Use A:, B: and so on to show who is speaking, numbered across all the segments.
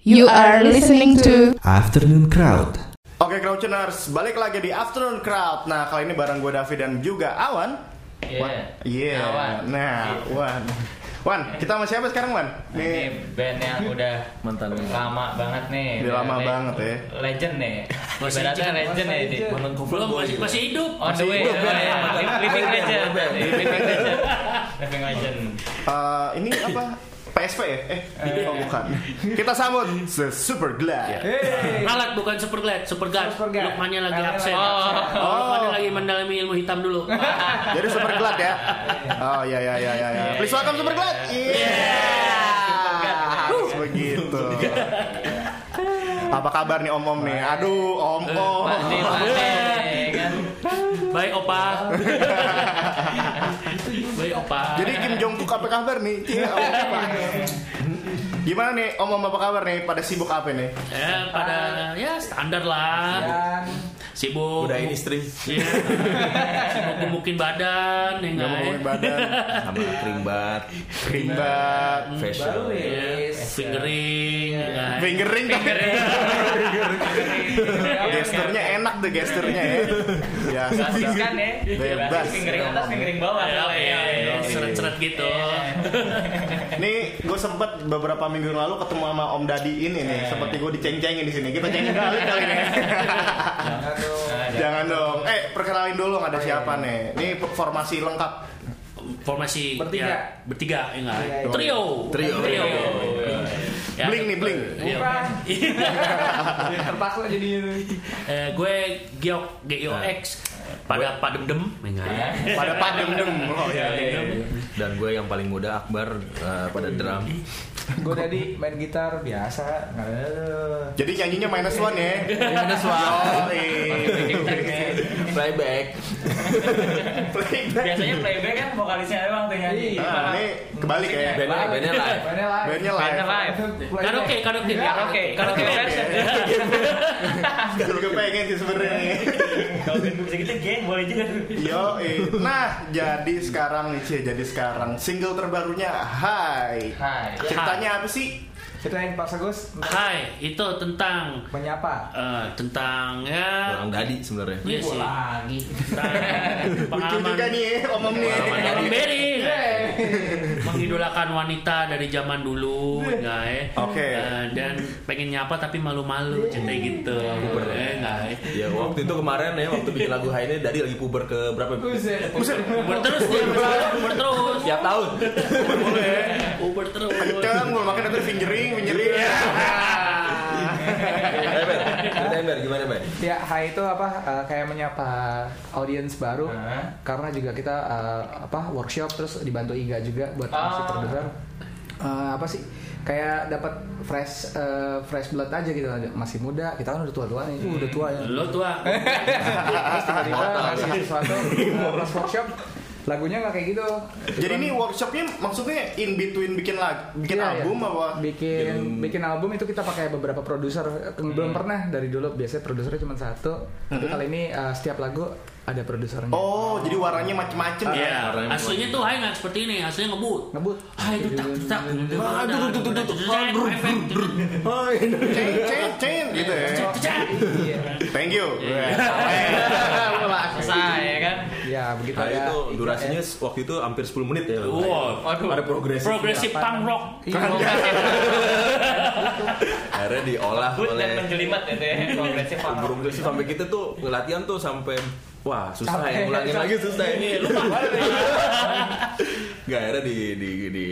A: You are listening to
B: Afternoon Crowd.
C: Oke Crowdtuners, balik lagi di Afternoon Crowd Nah kali ini bareng gue David dan juga Awan
D: Iya.
C: Iya
D: Nah, Wan. Iya.
C: Nah,
D: Nah,
C: Wan Wan, kita sama siapa sekarang Wan?
D: Ini
C: Nih,
D: band yang udah
E: Mantan.
D: lama banget nih.
C: Udah lama
D: le-
C: banget ya.
D: Legend nih.
E: Masih
D: Ibaratnya
E: hidup,
D: legend ya ini.
E: Belum masih masih hidup.
D: On the way,
C: hidup,
D: on the way. Li- living legend, living legend, living legend.
C: eh, ini apa? PSP ya? Eh, oh bukan Kita sambut The Super
D: Iya.
C: Glad
E: Alat bukan super glad, super glad. Lukmannya lagi absen.
D: Oh.
E: Oh, Lukmannya lagi mendalami ilmu hitam dulu.
C: Jadi Super Glad ya? Oh iya iya iya iya ya. Please welcome Super Glad Iya Harus begitu Apa kabar nih om-om nih? Aduh, om-om
D: Pasti, pasti, kan?
E: Baik opa. Baik opa.
C: Jadi Kim Jong Kook apa kabar nih? Iya, Cie, apa kabar? Gimana nih Om Om apa kabar nih? Pada sibuk apa nih?
E: ya pada ya standar
F: Iya.
E: lah. Sibuk.
G: Udah ini string
E: Iya. Sibuk gemukin badan, ya
C: Gak mau
E: nggak, ya?
C: ngomongin badan
G: sama krimbat,
C: Krimbat
G: facial.
E: Iya, Fingering, ya nggak, ya?
C: Fingering tapi
D: Iya, kan, ya?
C: Gesternya enak tuh gesternya ya Biasa
D: Bebas kan ya?
C: Bebas.
D: Fingering atas, fingering bawah. Iya,
E: Ya,
D: soalnya.
E: ya, ya, seret-seret gitu.
C: Nih gue sempet beberapa minggu yang lalu ketemu sama Om Dadi ini nih Seperti gue diceng-cengin di sini Kita cengin balik kali nih
D: Nah,
C: Jangan dong Eh perkenalin dulu ada siapa nih Ini formasi lengkap
E: Formasi
H: Bertiga.
E: ya, bertiga, ya nggak?
H: Iya, iya.
E: Trio.
G: Trio.
C: Iya,
E: Trio. Ya,
C: Bling nih bling
E: Iya.
H: Bukan. terpaksa jadi
E: Eh, gue Giok G I O
C: Ah.
E: X pada padem dem ya
C: Pada padem dem Oh iya iya
G: Dan gue yang paling muda Akbar eh, pada drum.
H: gue tadi main gitar biasa Aduh.
C: Jadi nyanyinya minus one ya. Minus one.
D: Iya, kan?
G: Playback.
D: Biasanya playback kan vokalisnya doang tuh nyanyi.
H: Iya.
F: Ah,
C: Nah, ini kebalik ya.
G: Bandnya, Ah, bandnya live.
H: mainnya live
C: Bandnya
D: Bandnya
C: live.
D: live. Iya,
E: karaoke karaoke
D: Karaoke, karaoke version.
C: Gue juga pengen sih sebenarnya.
D: Kalau bisa gitu geng boleh juga tuh.
C: Yo, nah jadi sekarang nih Cie, jadi sekarang single terbarunya Hai.
D: Hai.
C: Ceritanya apa sih?
H: ceritain Pak Sagus
E: Hai itu tentang
H: menyapa
E: eh, tentang ya
G: Orang dadi sebenarnya.
E: iya sih,
H: lagi
E: tentang
C: Lucu juga
E: pengalaman
C: nih ya, om-om nih.
E: Orang Beri mengidolakan wanita dari zaman dulu, enggak ya?
C: Oke.
E: Eh, dan pengen nyapa tapi malu-malu, cerita gitu. Eh, enggak
G: Ya
E: ya?
G: waktu itu kemarin ya waktu bikin lagu Hai ini Dadi lagi puber ke berapa?
H: Buset.
E: Uber terus dia, Mas. Uber terus.
G: Tiap tahun.
E: Uber terus.
C: Kenceng, gue makan itu fingering, fingering.
G: Eh, Ber, ceritain, Ber, gimana Ber?
H: Ya, hai itu apa? eh, kayak menyapa audiens baru.
D: Hah?
H: Karena juga kita eh, apa workshop terus dibantu Iga juga buat
D: Ah.
H: masih program. Eh, apa sih? Kayak dapat fresh eh, fresh blood aja gitu masih muda kita kan udah tua tua nih Uh, udah tua ya
E: Lo tua.
H: terus tiba-tiba ngasih sesuatu eh, pas workshop lagunya nggak kayak gitu
C: Jadi ini workshopnya maksudnya in between bikin lagu, bikin
H: Iya,
C: album
H: iya.
C: apa?
H: bikin bikin album itu kita pakai beberapa produser belum pernah dari dulu biasanya produsernya cuma satu tapi kali ini eh, setiap lagu ada produsernya
C: Oh, jadi warnanya macem-macem ya.
E: Iya,
G: Orangnya
E: aslinya tuh hai nggak seperti ini, aslinya ngebut.
H: ngebut
E: Hai itu tak tak.
C: Ah, duduk, duduk, duduk, duduk. Ah, grrr,
E: Oh, iya.
C: Ceng, ceng, ceng gitu ya.
H: iya
C: Thank you.
D: Selesai ya kan.
H: ya begitu
G: Hai Nah,
H: ya
G: Ah, itu durasinya s- waktu itu hampir 10 menit ya.
E: Wow.
D: Waduh.
G: Ada progresi.
E: Progresif punk rock.
G: Akhirnya diolah
D: But dan
G: oleh
D: menjelimat itu ya. Progresif punk rock.
G: burung gelis sampai kita tuh latihan tuh sampai wah susah
H: Sampai-
G: ya ngulangin lagi susah ya.
E: Iya, Lupa.
G: Gak akhirnya di di di di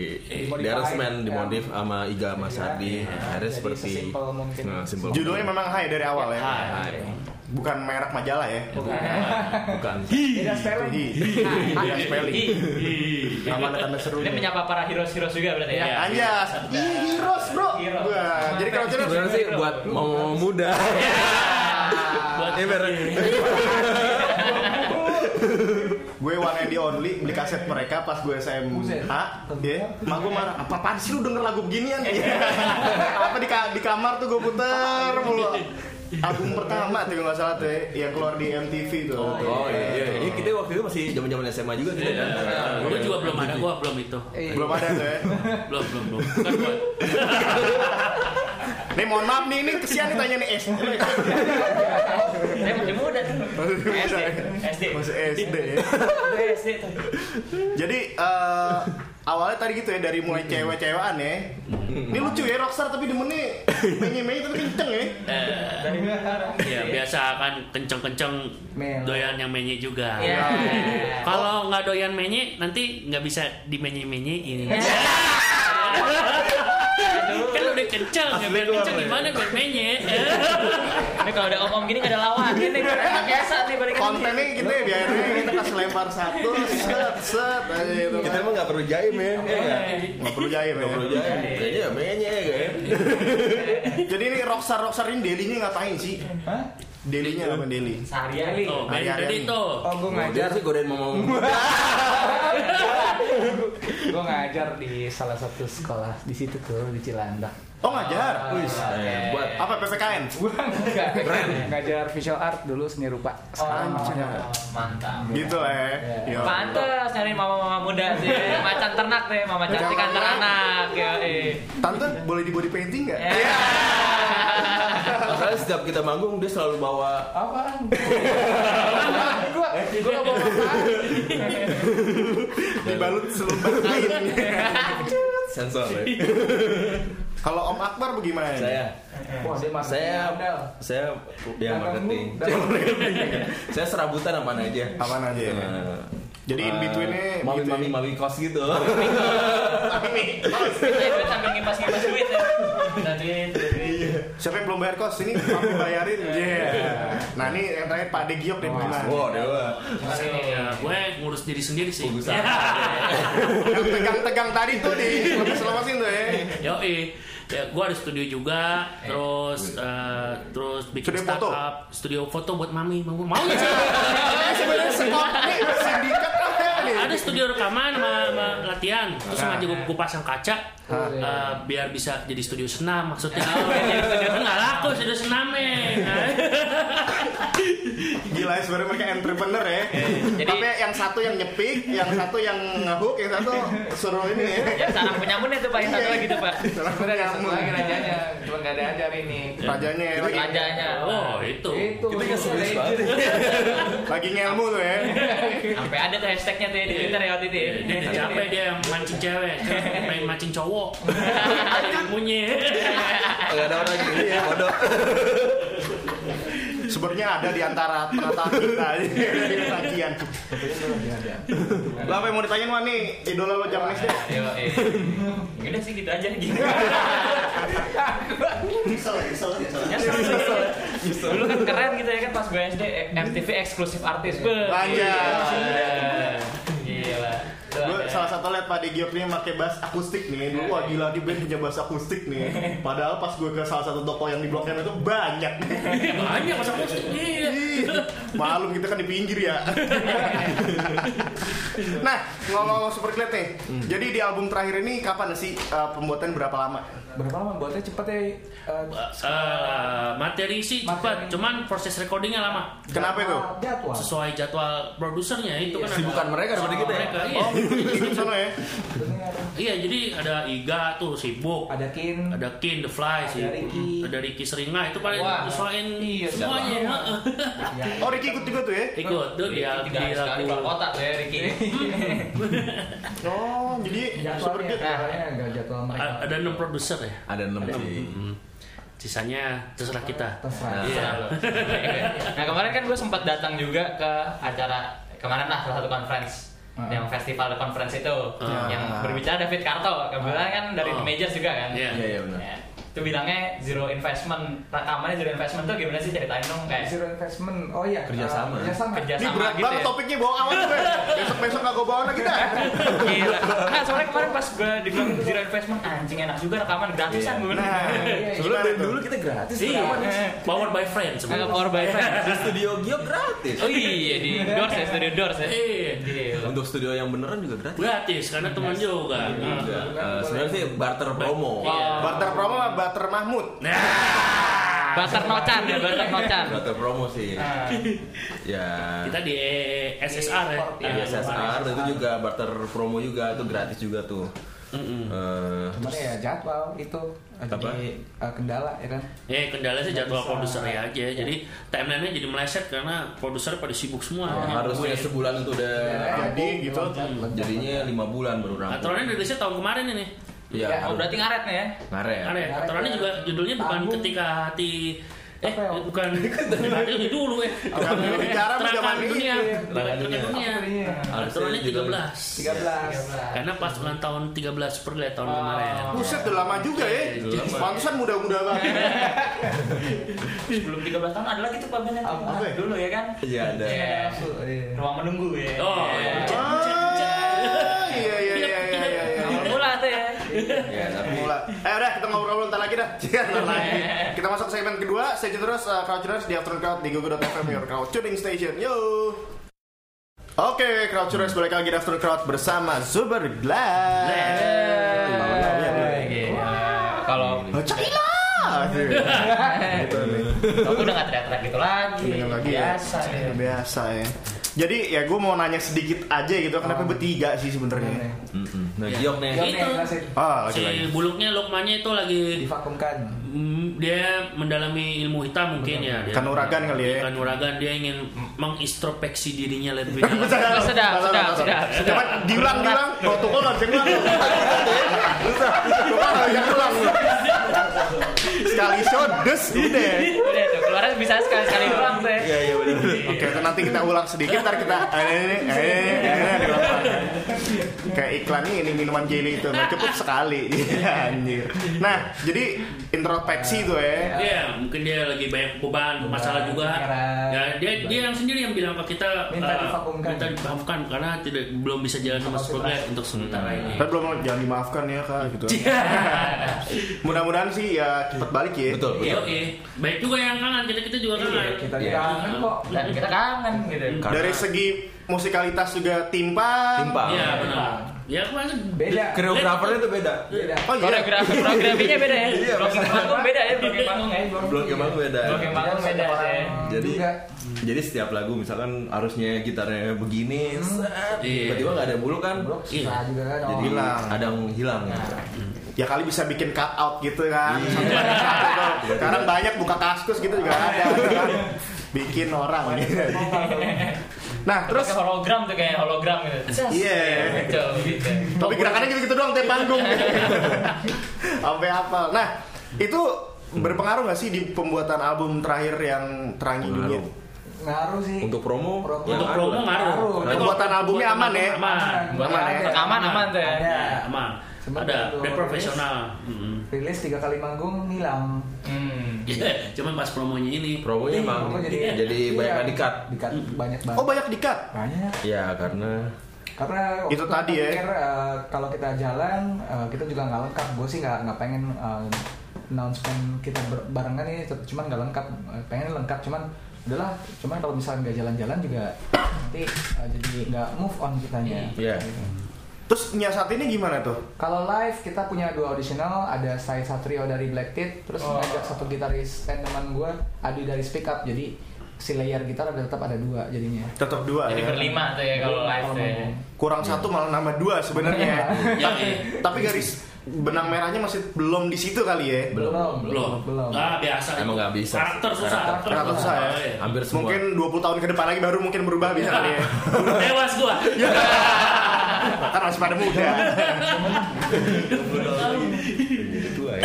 H: Dimodify.
G: aransemen di
H: Eh, Ya. Iya,
G: modif sama Iga Mas Ardi akhirnya
H: Jadi
G: seperti
H: sesimpel mungkin.
G: Nah, simple.
C: Judulnya memang Hai dari awal ya.
E: Hai.
C: Bukan merek majalah ya.
G: bukan
H: beda spelling
C: Hi.
E: Nah,
C: Iya, spelling.
D: Hi.
C: Nama tanda seru.
D: Ini menyapa para heroes-heroes juga berarti ya.
E: Iya.
C: Anjas. Ih, heroes, Bro.
D: Heroes.
C: Wah, jadi kalau cerita
G: sebenarnya sih buat mau muda
E: Buat
G: Eh,
C: Iya,
E: Iya.
G: bareng.
C: gue one and the only beli kaset mereka pas gue SMA.
H: Buset.
C: Ya, mak gue marah. Apa apaan sih lu denger lagu beginian? Iya. Apa di, ka- di kamar tuh gue puter mulu. Album pertama tuh kalau nggak salah tuh ya, yang keluar di MTV tuh.
G: oh iya iya
H: Gitu.
G: Ini kita waktu itu masih zaman zaman SMA juga kita
H: Iya,
G: kan
E: Gue juga
C: iya.
E: belum ada, gue belum itu.
H: Eh,
C: Belum ada tuh ya.
E: Kan Belum, belum, belum. Bukan gua.
C: Nih mohon maaf nih, ini kesian nih tanya nih SD.
F: Saya masih muda tuh. SD. SD.
C: Masih SD ya.
F: Gue SD tuh.
C: Jadi eh, awalnya tadi gitu ya dari mulai cewek-cewekan ya. Ini lucu ya rockstar tapi demennya menye-menye tapi kenceng ya.
E: Eh,
F: Dari
H: Iya,
F: mana?
C: Iya.
E: ya biasa kan kenceng-kenceng
H: Mel.
E: doyan yang menye juga.
F: Iya.
E: Kalau nggak doyan menye nanti nggak bisa dimenye-menyein.
H: Iya.
E: kan udah kenceng, ya biar kenceng gimana biar menye. Eh,
F: Ini kalau ada om-om gini gak ada lawan. Ini kayak biasa nih balik
C: Kontennya gitu ya biar kita kasih lempar satu, set, set aja gitu.
G: Kita emang gak perlu jaim ya. Iya nggak?
C: Nggak perlu jaim
G: Nggak perlu
C: ya.
G: jaim.
H: Iya,
G: Kayaknya menye ya kan.
C: Jadi ini rockstar-rockstar ini daily-nya ngapain sih?
H: Hah?
C: Daily-nya apa daily?
F: Seharian nih.
E: Tuh, dari
C: Iya, Hari-hari.
E: tadi tuh.
H: Oh, gue
G: Ngajar
H: ngajar.
G: sih godain mama
H: gue ngajar di salah satu sekolah di situ tuh di Cilandak.
C: Oh
G: Ah,
C: ngajar? Wih,
H: Iya.
G: Hebat.
C: Apa PPKN?
H: Gue enggak ngajar visual art dulu seni rupa.
F: Oh,
H: Sekarang ngajar.
F: Mantap.
C: Gitu eh.
G: Iya.
C: Ya.
F: Pantes nyari mama-mama muda sih. Macan ternak deh, mama cantik antar anak. Ya, eh.
C: Tante boleh di body painting nggak?
F: Ya.
G: Masalahnya setiap kita manggung dia selalu bawa
H: Apaan? Gue gue gak bawa apaan.
C: Dibalut selumbar kain.
G: sensor ya.
H: Iya.
C: Kalau Om Akbar bagaimana?
G: Saya
H: Wah, dia masuk
G: saya
H: modal.
G: saya ya
H: Dagang
G: marketing.
H: lu, dagang.
G: Saya serabutan apaan aja.
C: Apaan aja ya?
G: Eh,
C: Jadi in between-nya
G: eh, mami
C: gitu ya.
G: mami mami kos gitu.
F: Ini duit sambil ngimpas-ngimpas duit ya. Nah, duit, duit, duit.
C: Siapa yang belum bayar kos? Ini kami bayarin. Iya. Nah ini yang terakhir Pak De Giok deh bagaimana?
G: Wow dewa.
E: Ya, gue ngurus diri sendiri sih. Iya.
G: Urusan.
C: Yang tegang-tegang tadi tuh di lepas-lepasin tuh ya.
E: Yo, ya, gue ada studio juga, terus eh, terus bikin
C: Studio foto?
E: startup, studio foto buat mami, mau mau nggak sih?
C: Ini sebenarnya sekop nih sindikat apa ya? nih?
E: ada studio rekaman sama, sama latihan terus sama juga gue pasang kaca
C: Ah.
E: eh, biar bisa jadi studio senam maksudnya kan nggak laku studio senamnya kan?
C: Gila ya sebenarnya mereka entrepreneur ya.
F: jadi-
C: Tapi yang satu yang nyepik, yang satu yang ngehook, yang satu suruh ini ya.
F: Ya, sarang penyamun itu Pak. Yang satu lagi tuh, Pak.
H: Sebenarnya ada satu lagi rajanya, cuma gak ada ajar ini.
C: Rajanya ya, lagi,
F: Belanjanya.
E: oh itu
H: Itu
G: Kita nggak serius
H: legend.
G: banget.
C: lagi ngelmu tuh ya.
F: Sampai ada tuh hashtagnya tuh ya di Twitter ya waktu itu. ya.
E: dia udah capek dia yang mancing cewek sekarang pengen mancing cowok bunyi
G: Gak ada orang gini ya bodoh.
C: Sebenarnya ada di antara penata kita ini kajian. Lah apa yang mau ditanyain Wani? Idola lo zaman SD?
F: Ayo, eh. Udah sih gitu aja gitu.
C: Kesel, kesel, kesel.
F: Nyesel, nyesel. Dulu kan keren gitu ya kan pas gue SD eh, MTV eksklusif artis. Beuh,
C: Anjay.
F: gila. Gila. Tuh
C: Gue
F: ada.
C: salah satu liat Pak Degiok nih pakai bass akustik nih. Dulu wah gila di band punya bass akustik nih. Padahal pas gue ke salah satu toko yang di Blok M itu banyak.
E: banyak masa posting iya
C: Ih, Malum kita kan di pinggir ya. nah, ngomong-ngomong super Glad nih. Jadi di album terakhir ini kapan sih eh, pembuatan berapa lama?
H: Berapa lama buatnya cepet ya? eh,
E: Eh, materi sih cepat,
H: Materi.
E: cuman proses recordingnya lama.
C: Kenapa itu?
H: Jadwal.
E: Sesuai jadwal produsernya
F: Iya.
E: itu kan ada-
G: Sibukan mereka daripada kita ya.
E: mereka. Iya.
C: Oh, di sana ya.
E: Iya, jadi ada Iga tuh sibuk,
H: Ada kin.
E: ada Kin The Fly sih
H: Ada Ricky.
E: ada Ricky Seringa itu paling
F: Wah. Iya,
E: nyesuaiin semuanya heeh.
C: Oh, Ricky ikut juga tuh ya.
E: ikut tuh dia
F: tiga
E: di
F: sekali keluar
E: lagu Iya.
F: kota tuh ya Ricky.
C: Oh, jadi super
H: Jadwalnya,
C: Glad.
H: jadwalnya nggak
F: Oh
H: jadwal mereka.
E: A- ada enam produser ya
G: Ada enam sih.
E: Hmm. sisanya terserah kita
H: Terserah.
E: Iya.
F: nah kemarin kan gue sempat datang juga ke acara kemarin lah salah satu conference
E: Hmm.
H: Ah.
F: yang festival The conference itu yang berbicara David Karto kebetulan kan dari
E: Ah.
F: The Majors juga kan
E: Iya.
G: Iya iya benar.
F: Ya. itu bilangnya zero investment rekamannya zero investment tuh gimana sih ceritain dong kayak
H: Zero investment. Oh iya.
G: Kerjasama.
H: eh, kerjasama.
F: kerja
C: Ini
F: sama
C: berat
F: gitu
C: banget
F: ya.
C: topiknya bawa awal tuh. ya. Besok-besok gak gue bawa lagi dah.
F: Gila. Nah, soalnya kemarin pas gue dibilang itu zero investment anjing enak juga rekaman gratisan
G: Iya.
F: gue bilang.
C: Nah,
G: Sebelum
C: gimana
G: dari
C: tuh?
G: dulu kita gratis.
E: iya
G: rekaman.
E: powered by friends
F: Nah, power by friends.
G: Di studio Gio gratis.
F: Oh iya di Doors ya, studio Doors ya.
E: Iya.
F: Gila.
G: Untuk studio yang beneran juga gratis.
E: gratis karena teman
F: Iya.
E: juga
G: Juga. Eh, Sebenarnya sih barter promo.
E: Iya.
C: Barter promo sama Barter Mahmud.
E: nah
F: Butter nocan ya, butter nocan.
G: Barter promo sih. Ya.
E: kita di eh, SSR ya
G: Iya, SSR itu juga barter promo juga itu gratis juga tuh. Eh,
H: Cuman ya jadwal itu
G: Apa?
H: jadi eh, kendala ya kan.
E: Ya kendala sih jadwal
H: Nggak bisa.
E: produsernya aja. Jadi timelinenya jadi meleset karena produser pada sibuk semua.
G: Oh,
E: Hanya
G: harusnya
E: nungguin.
G: sebulan itu udah
C: jadi gitu.
G: jadinya lima bulan baru rampung.
E: Aturannya rilisnya tahun kemarin ini.
G: Iya,
D: Oh berarti ngaret nih ya?
G: ngaret.
E: Aneh. Aturannya juga judulnya bukan
H: Tabung.
E: ketika hati Eh,
H: Apa ya?
E: bukan hati lebih dulu eh.
C: Apa yang bicara sama
E: Terangkan
C: zaman ini?
E: dunia.
G: Terangkan
E: Terangkan
G: dunia.
E: dunia.
H: Iya.
E: Aturannya
G: Harusnya judulnya.
E: 13.
H: 13.
E: Karena pas ulang tahun 13 per ya, tahun kemarin.
C: Buset udah lama juga ya.
G: Udah lama.
C: Pantesan muda-muda banget.
D: Sebelum 13 tahun ada lagi tuh papan yang
H: Apa
D: ah,
C: ya?
D: dulu ya kan?
G: Iya, ada.
D: Iya.
H: Iya.
D: Ruang menunggu ya.
E: Oh,
D: Iya.
E: iya.
C: Ah, Iya iya iya iya iya, iya.
D: Awal mula tuh ya.
G: Iya, tapi
C: Mula. Eh udah kita ngobrol ntar lagi dah. Iya, ntar lagi. Kita masuk ke segmen kedua. Stay tune terus uh, Crowdtuners di Afternoon Crowd di Google.fm Your Crowd Tuning Station. Yo. Oke, Crowdtuners balik lagi di Afternoon Crowd bersama Super Glass.
D: Iya. Kalau
C: Cakila. Gitu nih.
D: aku udah gak teriak-teriak gitu lagi.
C: Minum lagi ya.
D: Biasa ya.
C: Biasa ya. Jadi ya gue mau nanya sedikit aja gitu
D: Ah.
C: kenapa bertiga sih sebenarnya?
G: Mm-mm. Nah, giok nih.
H: Gak nih,
E: Itu.
H: klasik.
C: Ah,
E: Si
C: lagi-lagi.
E: buluknya Lukmannya itu lagi
H: Divakumkan.
E: Mm, dia mendalami ilmu hitam mungkin ya dia.
C: Kanuragan kali ya. Hmm.
E: Kanuragan dia ingin mengistrospeksi dirinya lebih
C: Sedap,
E: dalam.
D: sedap, sedap, sedap, sedap.
C: Coba diulang, diulang. Protokol nggak bisa diulang. Bisa, coba nggak bisa diulang. Sekali show, des, udah.
D: Udah tuh, keluarnya bisa sekali-sekali doang tuh ya.
G: Iya, benar.
C: Oke, itu nanti kita ulang sedikit, ntar kita eh, eh, eh, eh, eh, diulang lagi. kayak iklan ini minuman jelly itu, nah, cukup sekali, Iya, anjir. Nah, jadi introspeksi tuh ya.
E: Iya, mungkin dia lagi banyak beban, masalah juga.
H: pikiran.
E: Ya, dia dia yang sendiri yang bilang ke kita
H: Minta
E: eh,
H: divakumkan.
E: minta divakumkan karena tidak belum bisa jalan sama Spotlight untuk sementara ini. Iya.
C: Tapi belum jangan dimaafkan ya kak gitu. Mudah-mudahan sih ya cepet balik ya.
G: Betul,
E: Iya,
G: betul.
E: oke. Baik juga yang kangen, kita kita juga kangen.
H: Kita
G: Iya.
H: kangen kok.
D: Dan kita kangen gitu.
G: Karena-
C: Dari segi musikalitas juga timpang.
G: Timpang.
E: Iya, benar. Ya, kemarin
H: Beda.
G: Koreografernya tuh beda.
H: Beda.
C: Oh iya.
D: Koreografi, koreografinya beda ya.
G: Iya,
D: Blok yang
G: maksudnya.
D: panggung beda ya, blok yang panggung ya.
G: Blok yang baru beda.
D: Blok yang panggung beda ya.
G: Jadi
H: Juga.
G: jadi setiap lagu misalkan harusnya gitarnya begini, set,
E: Iya.
G: tiba-tiba nggak ada bulu kan?
H: Blok
E: Iya.
H: susah juga kan.
G: Jadi
H: orang.
C: Hilang.
G: ada yang hilang.
C: Ya kali bisa bikin cut out gitu kan.
D: Iya.
C: Satu banding satu tuh. Sekarang banyak buka kaskus gitu juga ada. kan. Bikin orang gitu. Nah,
D: Terus
C: terus
D: hologram tuh kayak hologram gitu.
C: Iya.
D: Gitu, gitu.
C: tapi gerakannya gitu-gitu doang tiap panggung. Sampai hafal. Nah, itu berpengaruh gak sih di pembuatan album terakhir yang terangi dunia?
H: Ngaruh sih.
G: Untuk promo,
H: Promo.
G: yang
E: untuk
G: ada.
E: promo ngaruh.
H: Ngaruh.
E: Tapi kalau
C: Pembuatan albumnya
E: buat
C: aman ya?
E: Aman.
D: Buat
C: Aman ya?
D: rekaman aman tuh ya.
H: Ada.
E: Ya, aman.
H: Cuman
E: Ada,
H: kalau
E: dia
H: rilis-
E: profesional. Mm-mm.
H: Rilis tiga kali manggung hilang.
D: Hmm.
E: Iya, Cuman pas promonya ini
G: Promonya emang
H: Promo
G: iya, jadi,
H: Iya, jadi
G: banyak
H: iya,
G: yang di-cut.
H: Di-cut banyak banget.
C: Oh banyak di cut.
H: banyak.
G: Ya karena
H: Karena waktu
C: Itu tadi
H: aku
C: ya.
H: pikir, eh, kalau kita jalan eh, kita juga nggak lengkap. Gue sih nggak nggak pengen eh, announcement kita ber- barengan ini, tet- cuman nggak lengkap. Eh, Pengen lengkap, cuman udahlah. Cuman kalau misalnya nggak jalan-jalan juga nanti eh, jadi nggak move on kitanya.
G: Iya.
H: Gitu.
C: Terus nyiasatinnya gimana tuh?
H: Kalau live kita punya dua auditional, ada Sai Satrio dari Black Teeth, terus ngajak satu gitaris teman gue, Adi dari Speak Up. Jadi si layer gitar ada tetap ada dua jadinya.
C: Tetap dua
D: Jadi
C: ya.
D: berlima tuh ya kalau live tuh ya.
H: ngomong.
C: kurang satu malah nambah dua sebenarnya.
E: Ya,
D: Iya,
C: tapi, tapi garis benang merahnya masih belum di situ kali ya.
H: belum
E: belum.
H: belum.
E: Ah, biasa.
G: Emang nggak bisa sih.
E: Karakter susah.
G: Karakter.
C: Karakter susah ya.
E: Oh, iya.
G: hampir semua.
C: Mungkin 20 tahun ke depan lagi baru mungkin berubah bisa kali ya.
E: Udah Tewas gua.
C: Kan masih pada muda.
G: jadi tua ya.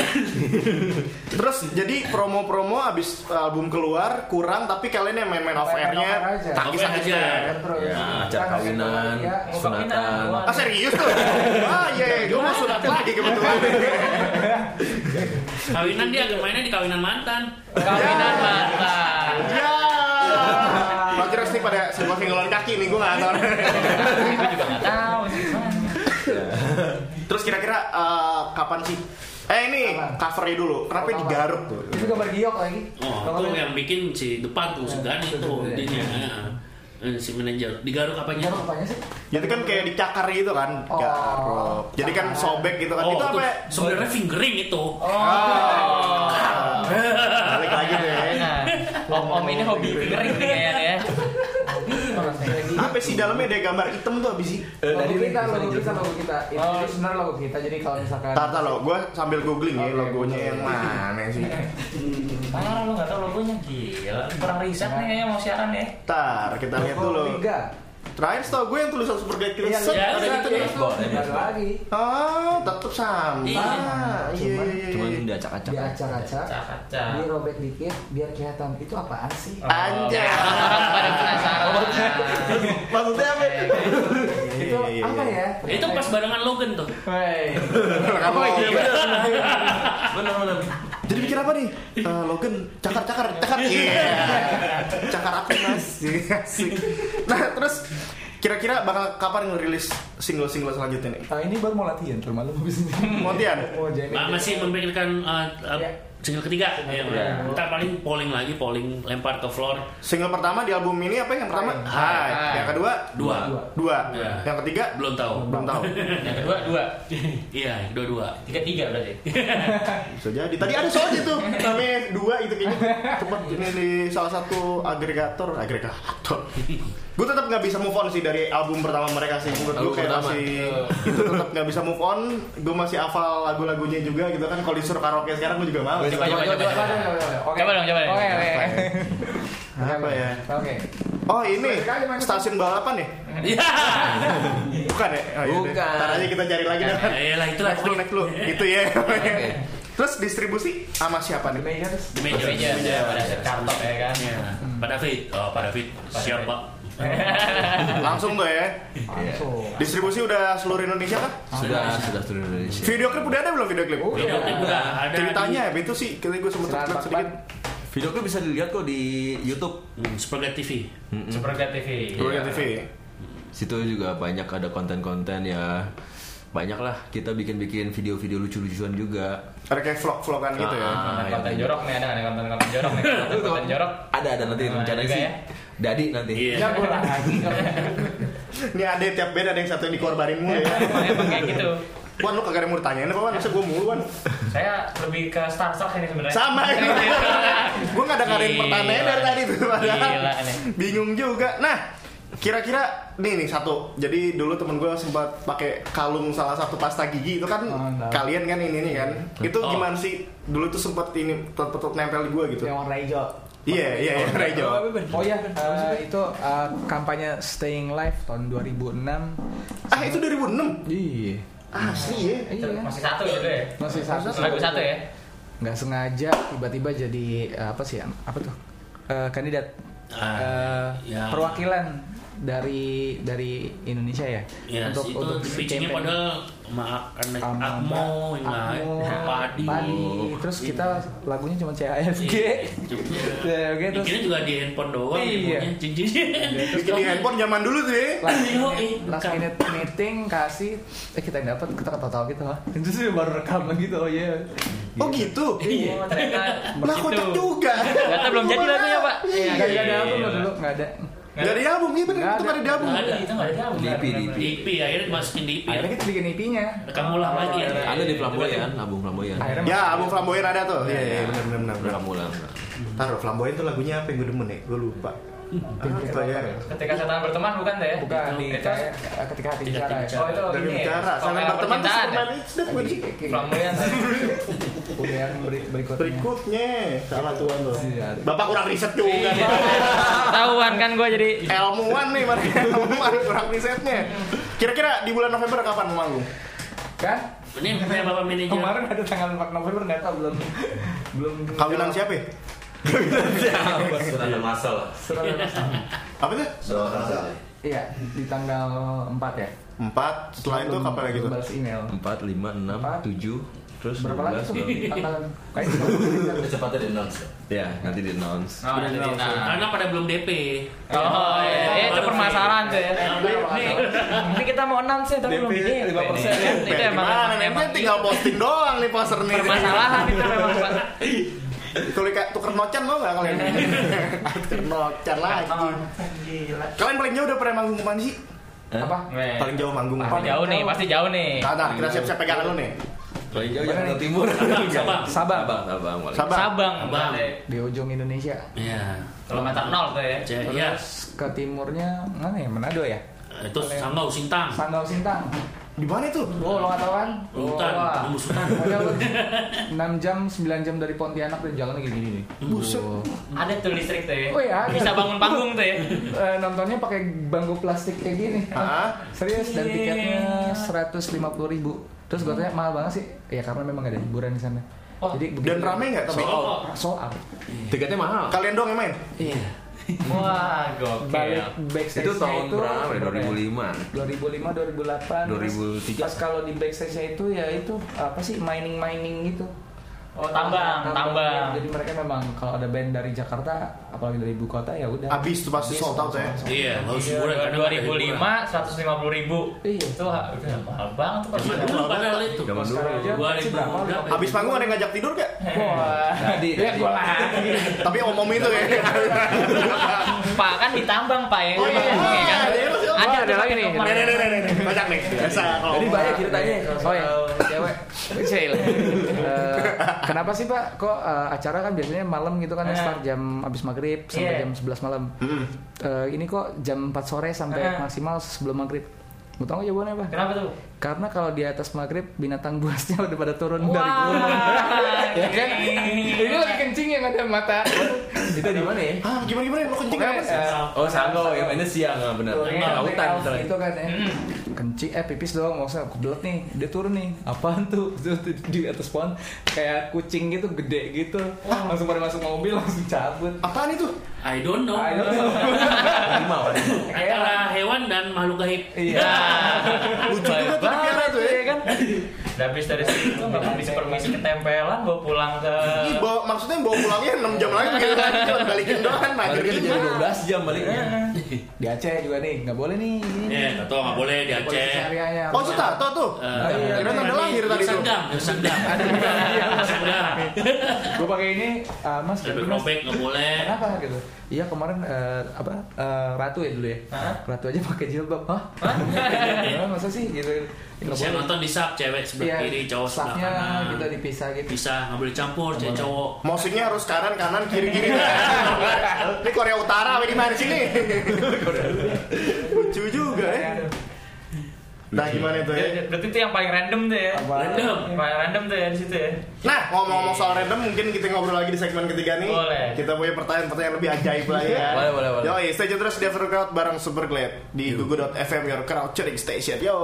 C: Terus jadi promo-promo abis album keluar kurang tapi kalian yang main-main off airnya
H: Main-main off air aja.
C: sakit-sakit
E: Off air aja.
C: ya.
H: Terus.
G: Ya, acara
H: Kan
G: kawinan,
H: ya,
G: sunatan.
D: kawinan.
C: Ah serius tuh? Ah iya, gue mau sunat lagi kebetulan.
E: Kawinan dia agak mainnya di kawinan mantan.
D: Kawinan mantan.
C: Ya. Roger nih pada sebuah singgolan kaki nih gue nggak tahu.
D: Gue juga nggak tahu sih. gimana.
C: Terus kira-kira eh, kapan sih? Eh ini
H: Kapan? Oh,
C: covernya dulu. Kenapa
H: Apa?
C: digaruk tuh?
H: Itu gambar giok lagi.
E: Oh,
H: Kalau
E: itu
H: ada-
E: yang bikin si depan tuh segan itu
H: betul, ya.
E: intinya. Eh, Si manajer digaruk apanya?
H: Garuk apanya sih?
C: Jadi kan kayak dicakar gitu kan,
H: Oh.
C: garuk. Jadi kan sobek gitu kan.
E: Oh,
C: itu apa? ya?
E: sebenarnya fingering itu.
C: Oh. Balik lagi deh.
D: Nah, Om Om ini hobi fingering nih kayaknya ya. Hobi
H: orang Peggy.
C: Apa sih dalamnya ada gambar hitam tuh abis sih?
G: Eh,
H: Logo
G: tadi nih,
H: kita,
G: bisa
H: logo kita,
G: dijelasin.
H: logo kita. Itu
D: Oh.
H: sebenarnya logo kita. Jadi kalau misalkan
C: Tar tar lo, gue sambil googling ya
H: Oke,
C: logonya
H: bener.
C: yang mana sih?
D: Parah lu nggak tahu logonya gila. Kurang riset nih kayaknya mau siaran ya.
C: Tar, kita lihat
H: Logo
C: dulu.
H: Liga.
C: Terakhir setahu gue yang tulisan super guide kita
H: Iya,
C: set,
E: iya,
C: ada
E: iya,
C: gitu
E: iya.
C: nih.
G: Baseball, ya,
H: Ada
G: baseball.
H: lagi
C: Oh, tetap sama.
E: Iya.
C: Iya,
H: Cuman-
C: iya,
G: Cuman
C: iya.
G: diacak-acak.
H: diacak-acak,
D: Kaca-kaca.
E: Nah.
H: dirobek dikit biar kelihatan. Itu apaan sih?
E: Oh,
D: Iya.
C: Anjay.
D: Orang pada
C: iya,
D: penasaran. iya,
C: Maksudnya apa?
E: iya,
C: iya.
H: Itu apa ya?
E: Itu pas barengan Logan tuh.
H: Wey.
C: Apa
G: Iya,
C: ya?
G: bener, bener, bener.
C: Jadi pikir apa nih? Eh, Logan, cakar, cakar, cakar. Iya. Cakar aku mas. Iya, Asik. Nah, terus kira-kira bakal kapan ngerilis single-single selanjutnya nih?
H: Ah, ini baru mau latihan, cuma lu habis ini.
C: Montian?
H: Mau Oh, jadi.
E: Ma- Masih memikirkan uh, uh,
H: Iya.
E: single ketiga. Ya,
H: Iya.
E: Ntar paling polling lagi, polling lempar ke floor.
C: Single pertama di album ini apa yang pertama?
H: Hai.
C: Hai.
D: Hai.
C: Yang kedua?
E: Dua.
H: Dua.
C: Dua.
E: Iya.
C: Yang ketiga?
E: Belum tahu.
C: Belum tahu.
D: Yang kedua dua,
E: Iya, dua-dua.
D: tiga tiga berarti.
C: Bisa jadi. Tadi ada soalnya tuh namanya dua itu kayaknya. Cepet ini di salah satu agregator, agregator. gue tetap nggak bisa move on sih dari album pertama mereka sih. Menurut gue
G: Album
C: kayak
G: pertama.
C: masih itu tetap nggak bisa move on. Gue masih hafal lagu-lagunya juga gitu kan. Kalau disuruh karaoke sekarang gue juga mau.
G: Coba,
D: Coba coba coba.
H: Coba, coba, coba. Oke.
D: Coba dong, coba dong.
H: Oke, oke.
C: Apa ya?
H: Oke.
C: Oh ini stasiun balapan ya?
E: Iya.
C: Bukan ya? Oh, iya deh.
G: Bukan.
C: Ntar aja kita cari lagi dah.
E: Ya lah itu lah.
C: Next lu, next lu. Gitu ya. Terus distribusi sama siapa nih?
H: The Mayors.
E: Di
D: Meja
E: meja.
D: meja meja Iya, pada set kartop ya kan.
E: Iya. Pak David, oh, Pak David, siap
D: David.
E: Pak.
C: Langsung tuh ya.
G: Iya.
E: Iya.
H: Langsung.
C: Distribusi udah seluruh Indonesia kan?
G: Sudah, sudah, sudah Indonesia.
C: Video klip udah ada belum video klip?
H: Udah.
E: Video klip udah ada.
C: Ceritanya ya, itu sih kita gue sempet
H: Silakan,
C: lihat
H: Pak.
C: sedikit.
G: Video klip bisa dilihat kok di YouTube.
E: Hmm, Supergate TV.
D: Super Gat TV.
C: Dulu TV.
G: Situ juga banyak ada konten-konten ya. Banyak lah kita bikin-bikin video-video lucu-lucuan juga.
C: Ada kayak vlog-vlogan gitu
G: Ah,
C: ya.
D: Konten
G: yang
D: konten
G: kayak
D: jorok nih ada nggak nih konten konten jorok nih konten konten jorok.
G: Ada ada nanti
D: Nah,
G: rencananya
D: juga
G: sih.
D: ya.
G: Dadi nanti.
E: Iya.
H: Ya, gua lagi.
C: Ini ada tiap band ada yang satu yang dikorbanin mulu ya.
D: Emang emang kayak gitu.
C: Wan lu kagak ada yang mau ditanyain apa Wan? Masa gue mulu Wan?
D: Saya lebih ke Star Shock ini sebenarnya.
C: Sama gitu. gue gak ada ngadain
D: Gila.
C: pertanyaan dari tadi tuh. padahal.
D: Gila nih.
C: Bingung juga. Nah, kira-kira nih nih satu. Jadi dulu temen gue sempat pakai kalung salah satu pasta gigi itu kan
H: Oh, enggak. Hmm.
C: kalian kan ini nih kan. Itu
E: Oh.
C: gimana sih? Dulu tuh sempat ini tetep nempel di gue gitu.
H: Yang warna hijau.
C: Iya, iya, iya, Rejo.
H: Oh iya, eh, itu eh, kampanye Staying Live tahun 2006.
C: Ah, itu 2006.
H: Iya.
C: Asli ya.
H: Iya.
D: Masih satu gitu ya.
H: Masih satu.
D: Lagu satu ya.
H: Nggak sengaja tiba-tiba jadi eh, apa sih? Apa tuh? Eh, kandidat
E: Ah,
H: eh,
E: ya.
H: perwakilan dari dari Indonesia ya.
E: Ya, untuk, itu speech-nya
H: campaign.
E: padahal ma- anak
H: Sama
E: Akmo,
H: Mbak Akmo,
E: ingat, Padi.
H: Padi. Terus kita lagunya cuma CAFG.
E: Iya.
H: Ya, Oke, terus
E: Bikinnya juga di handphone doang
H: Iya.
E: ibunya. Cincin.
C: Bikin di handphone zaman dulu tuh ya.
H: last
E: Yo,
H: minute,
E: eh,
H: last
E: rekam.
H: minute meeting kasih eh kita yang dapat kita ketawa-tawa gitu lah itu sih baru rekaman gitu oh iya
C: Oh gitu.
D: Iya.
C: Lah kocak juga.
D: Ternyata belum jadi lagunya pak.
H: Iya, nggak ada apa lo dulu nggak ada
C: Gak ada di album, iya bener,
H: Nggak
C: itu gak ada di album.
E: Nggak ada.
D: Kita nggak ada album.
G: Di EP, di EP.
E: DP akhirnya masukin DP.
H: akhirnya kita bikin E IP-nya
E: Rekam ulang lagi ya.
G: iya. Ada di Flamboyan, album Flamboyan.
H: akhirnya
C: Ya, album Flamboyan ada tuh. Iya, iya, bener, bener, bener.
G: Rekam ulang.
C: Taruh, Flamboyan tuh lagunya apa yang gue demen ya? Gue lupa. Ah, itu ya.
D: Ketika setan berteman bukan teh?
H: bukan di
D: Itu-
H: kayak eh, ketika hati
E: Ketika
H: bicara ya
E: hati
D: Oh itu
C: Dari
D: ini.
C: bicara, sampai berteman tuh Superman itu udah gue
H: Jadi,
C: di-
H: kayak- kayak-
D: Flamboyan.
H: udah yang beri- berikutnya
C: Berikutnya, salah tuan lo.
H: Iya.
C: Bapak kurang riset juga.
D: Iya. Tahuan kan gue jadi.
C: Ilmuwan nih, mari ilmuwan kurang risetnya. Kira-kira di bulan November kapan mau manggung?
H: kan
E: Ini punya bapak manajer.
H: Oh, kemarin ada tanggal 4 November nggak tahu belum belum
C: Kawinan siapa ya?
G: Sudah masalah.
H: Surat ada-
C: Apa tuh?
H: iya di tanggal 4 ya
C: Empat, setelah itu
H: Belum-
C: kapan lagi
H: belum
C: tuh?
H: balas email
G: Empat, lima, enam,
H: Empat.
G: tujuh, terus
H: berapa lagi tuh gitu. tanggal kayaknya
G: Cepatnya di announce. Ya, nanti di announce.
D: Oh, jadi nah.
E: Karena pada belum DP.
D: Oh, iya, iya, itu
E: Baru
D: permasalahan tuh ya.
E: Iya,
D: Ini, ini kita mau enam sih, tapi belum di DP. nih. Itu emang
C: Gimana
D: emang-
C: nih?
D: emang
C: Ini tinggal posting doang nih poster nih.
D: permasalahan itu memang. Pak.
C: Tulis kayak tuker nocan lo nggak kalian? tuker nocan lagi. Kalian paling jauh udah pernah manggung kemana sih?
G: Hah?
H: apa
D: Nih,
C: Paling jauh manggung
D: Pasti Eh, jauh nih, pasti jauh nih.
C: Nah, nah, kita siap-siap pegangan lo nih.
G: Paling jauh Jakarta Timur.
E: Sabang.
G: Sabang. Sabang. paling.
C: Sabang.
D: Sabang,
E: Sabang.
D: boleh.
H: di ujung Indonesia
E: Iya.
D: Kilometer nol tuh ya.
E: Cek,
H: terus
E: ya.
H: ke timurnya mana ya Manado ya
E: Itu Sanggau Sintang.
H: Sanggau Sintang
C: Di mana itu?
H: Oh, lo nggak tahu kan?
E: Hutan,
H: Wah.
E: penembus hutan.
H: Pokoknya lu 6 jam, 9 jam dari Pontianak dan jalannya gini-gini nih.
C: Buset.
H: Wah.
D: Ada tuh listrik tuh ya.
H: Oh iya, ada.
D: Bisa bangun panggung tuh ya.
H: Eh, nontonnya pakai bangku plastik kayak gini.
C: Hah?
H: Serius dan tiketnya 150.000 Terus gue tanya mahal banget sih. Ya karena memang gak ada hiburan di sana.
D: Oh,
C: Dan rame nggak? Sold out.
H: Sold out.
G: Tiketnya mahal.
C: Kalian doang yang main?
H: Iya.
D: Wah,
H: Balik
D: gokil.
H: backstage
G: Itu tahun berapa? ya? 2005.
H: 2005 2008
G: 2003.
H: pas kalau di backstage nya itu ya itu apa sih mining mining gitu
D: Oh, tambang, tambang.
H: jadi mereka memang kalau ada band dari Jakarta apalagi dari ibu kota ya udah
C: Abis tuh pasti sold out ya.
E: Iya, haus hiburan karena nggak ada
D: 2005
E: hiburan.
D: 150 ribu
H: Iya.
D: itu ha- udah mahal banget tuh
E: Zaman
D: kalau
E: dulu padahal itu.
G: Zaman dulu.
H: sekarang aja
E: Dua
H: sih
E: ribu
H: berapa
E: berapa?
C: Abis panggung ada yang ngajak tidur gak?
H: Wah.
G: Tadi. tadi.
C: Tapi om-om itu ya.
D: pak kan ditambang pak ya
C: Oh, iya.
D: Makanya kan.
C: Iya, masih-
D: ada
H: Oh, ada
D: tuh
H: lagi
D: pakai
H: nih.
D: kemarin.
C: Nih, nih, nih, nih, nih. Banyak nih. Biasa kalau
H: Tadi
C: ngomong.
H: banyak ceritanya Oh ya, cewek Cewek Eh, Kenapa sih pak, kok eh, acara kan biasanya malam gitu kan ya,
D: Eh.
H: Start jam abis maghrib sampai
D: Iya.
H: jam 11 malam Eh, Ini kok jam 4 sore sampai
D: Eh.
H: maksimal sebelum maghrib Mau tau nggak jawabannya apa?
D: kenapa tuh
H: Karena kalau di atas maghrib binatang buasnya udah pada turun dari
D: Wah, Iya
H: gurun. ya kan?
D: gila.
H: Ini lagi kencing yang ada mata.
G: Itu di mana ya?
C: Hah, Ah, gimana gimana? Lo kencing
H: Pokoknya,
C: apa sih?
H: eh,
G: Oh, Sanggau ya mainnya siang ah, benar.
H: turun
G: Nah,
H: dari
G: hutan
H: laut
G: misalnya.
H: gitu kan ya.
E: Hmm.
H: Kencing eh pipis doang mau aku kebelet nih. Dia turun nih. Apaan tuh? Terus di- Di atas pohon kayak kucing gitu gede gitu. Langsung pada masuk mobil langsung cabut.
C: Apaan itu?
E: I don't know.
H: I don't know.
G: Harimau. harimau.
E: Antara hewan dan makhluk gaib.
H: Iya.
C: Lucu juga tuh dipelihara tuh ya.
D: kan udah habis dari situ nggak permisi permisi ketempelan bawa pulang ke
C: Ini bawa, maksudnya bawa pulangnya 6 jam lagi gitu lagi cuma balikin doang maghrib
G: Baliknya
C: gitu.
G: jadi 12 jam baliknya.
H: Di Aceh juga nih, nggak boleh nih. ini.
E: Iya, nggak tahu nggak boleh di
H: Polisi
E: Aceh.
H: syariahnya.
C: Oh, sudah, tau tuh.
E: Eh,
H: iya,
C: Kira
E: tadi-
C: tanda lahir tadi tuh.
E: Sendam, sendam. Ada Iya, sendam.
H: Gue pakai ini, ah, mas,
E: Lebih
H: mas,
E: robek nggak boleh.
H: Kenapa gitu? Iya kemarin eh, apa eh, ratu ya dulu ya.
D: Hah?
H: Ratu aja pakai jilbab. Hah? Ya, masa sih gitu. Nggak
E: Saya
H: boleh.
E: nonton di sub cewek
H: Iya,
E: sebelah kiri, cowok sebelah
H: staffnya
E: kanan.
H: kita dipisah gitu.
E: Bisa nggak boleh campur cewek cowok.
C: Musiknya harus kanan, kanan, kiri, kiri. Ini Korea Utara, apa di mana sini? Lucu juga ya. Nah, gimana itu ya?
D: berarti itu yang paling random tuh ya
H: Apa?
E: Random.
D: paling random tuh ya di situ ya
C: Nah, ngomong-ngomong soal random, mungkin kita ngobrol lagi di segmen ketiga nih.
D: Boleh.
C: Kita punya pertanyaan-pertanyaan lebih ajaib lah ya.
G: Boleh, boleh, boleh.
C: Yoi, stay tune terus di After Crowd bareng Super Glad di gugu.fm your crowd cheering station. Yo.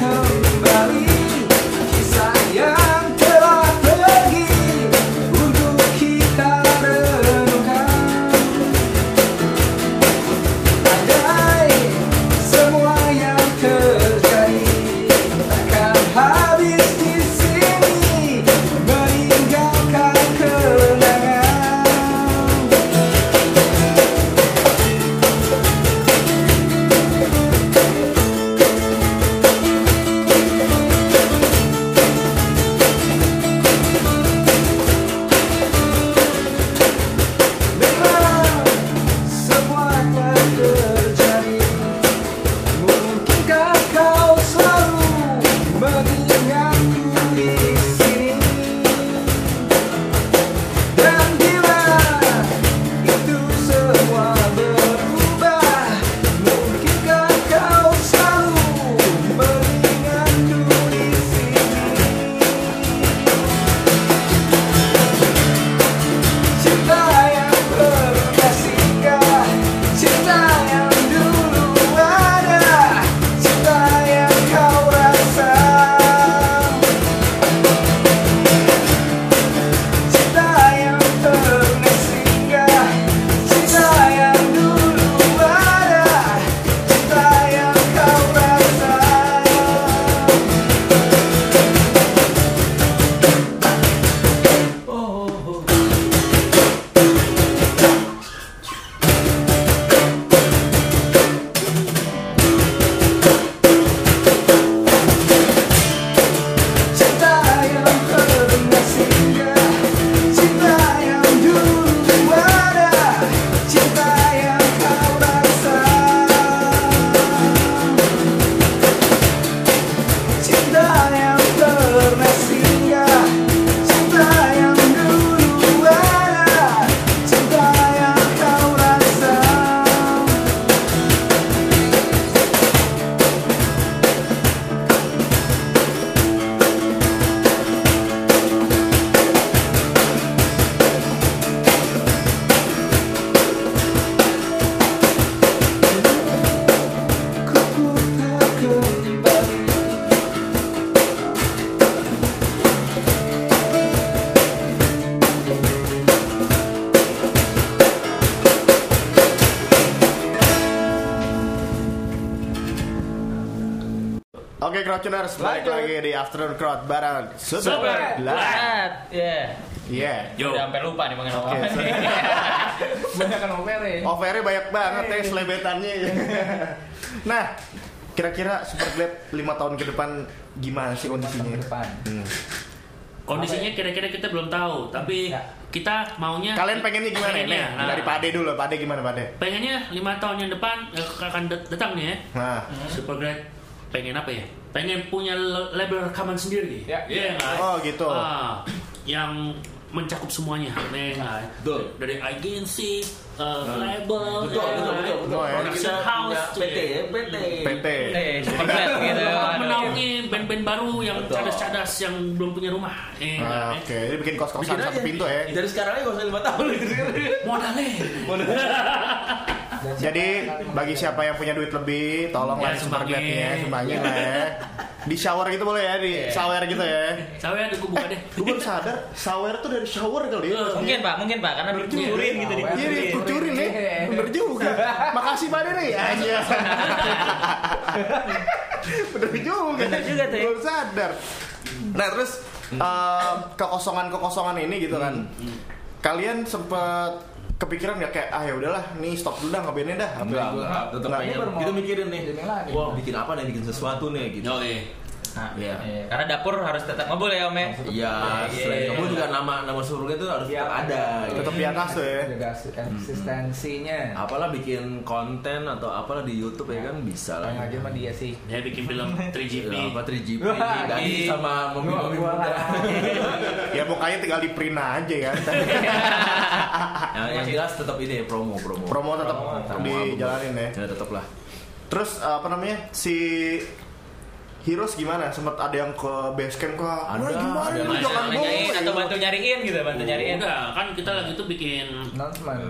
B: Kembali kisah yang telah pergi
C: Oke, Crowdtuners, balik
D: Lanjut.
C: lagi di Afternoon Crowd bareng Super,
E: Super
C: Blood.
D: Blood. Yeah.
C: Yeah.
D: Iya.
E: Yo.
D: Udah sampai lupa nih pengen
C: Oke,
D: apa.
C: so-
H: Banyak kan over ya.
C: Overnya banyak banget ya selebetannya. nah, kira-kira Super Glad 5 tahun ke depan gimana sih kondisinya?
H: Ke depan.
C: Hmm.
E: Kondisinya kira-kira kita belum tahu, tapi
H: Ya.
E: kita maunya
C: Kalian pengennya gimana nih?
E: Pengennya, nah.
C: Dari Pade dulu, Pade gimana Pade?
E: pengennya lima tahun yang depan eh, akan dat- datang nih ya.
C: Nah,
E: Supergrad pengen apa ya? Pengen punya le- label rekaman sendiri.
H: Ya.
E: Iya nggak?
C: Oh, gitu.
E: Ah, yang mencakup semuanya, Nih, nggak?
G: Betul.
E: Dari agensi, eh, label,
G: Betul, betul,
E: ya, nggak?
G: betul, betul.
C: No, ya.
G: Production
E: Production house
G: punya
E: tuh
G: PT ya, PT.
C: PT.
G: Iya.
D: Eh, super Blood gitu.
E: Bakal
D: Aduh.
E: menaungi band-band baru yang
G: Betul. Ah.
E: cadas-cadas yang belum punya rumah. Eh, nggak,
C: Nah,
E: eh.
C: oke, jadi bikin kos-kosan
G: Bikin
C: satu
G: aja. Iya,
C: pintu ya.
G: Dari sekarang aja gak usah lima tahun. gitu.
E: Modalnya.
H: Dan siapa
C: Jadi
H: yang akan
C: bagi
H: menggantikan?
C: siapa yang punya duit lebih, tolonglah
E: Ya,
C: Super Glad
E: sumbangin.
C: ya, sumbangin lah ya. Di shower gitu boleh ya, di shower gitu ya.
E: Saya ada gue buka deh.
C: Gue baru sadar, shower tuh dari shower kali ya.
D: Mungkin Pak, mungkin Pak karena dulu dikucurin gitu
C: Iya
H: Iya,
C: nih,
D: dikucurin.
C: kucurin nih. Bener juga. Makasih pada nih. Aja. Bener juga.
D: Bener juga tuh ya.
C: Belum sadar. Nah terus eh, kekosongan-kekosongan ini gitu kan. Kalian sempet kepikiran nggak kayak ah ya udahlah nih stop dulu dah ngebandnya dah Apa gitu.
G: Enggak,
C: yang gua-
G: enggak, tetap
C: Enggak.
G: pengen.
H: Ini baru mau
G: Kita mikirin nih,
H: jamin lagi.
G: wah bikin apa nih, bikin sesuatu nih gitu.
E: Oh, iya.
D: Nah,
G: Iya.
D: iya. Karena dapur harus tetap ngebul ya Om ya.
G: Iya, selain kamu juga nama nama surga itu harus tetap ada. gitu.
C: Tetap di atas tuh ya.
H: Jaga eksistensinya.
G: Apalah bikin konten atau apalah di YouTube ya kan bisa lah.
H: Yang aja sama dia sih.
E: Dia bikin film 3GP.
G: Ya, apa 3GP
H: Wah,
G: Dani sama mami mami
H: Gua- gua
G: muda.
H: lah.
C: Ya pokoknya tinggal di print aja ya.
G: Nah, yang jelas tetap ini ya, promo promo.
C: Promo tetap
G: Promo album.
C: dijalanin ya.
G: Ya tetap lah.
C: Terus eh, apa namanya si Heroes gimana? Sempet ada yang ke basecamp kok.
G: Ada,
C: Wah, gimana
G: ada.
C: nih lu
D: Bantu
C: jangan
D: nanyain atau
C: bohong.
D: bantu nyariin gitu, bantu nyariin.
E: Enggak, kan kita lagi itu bikin
H: Announcement.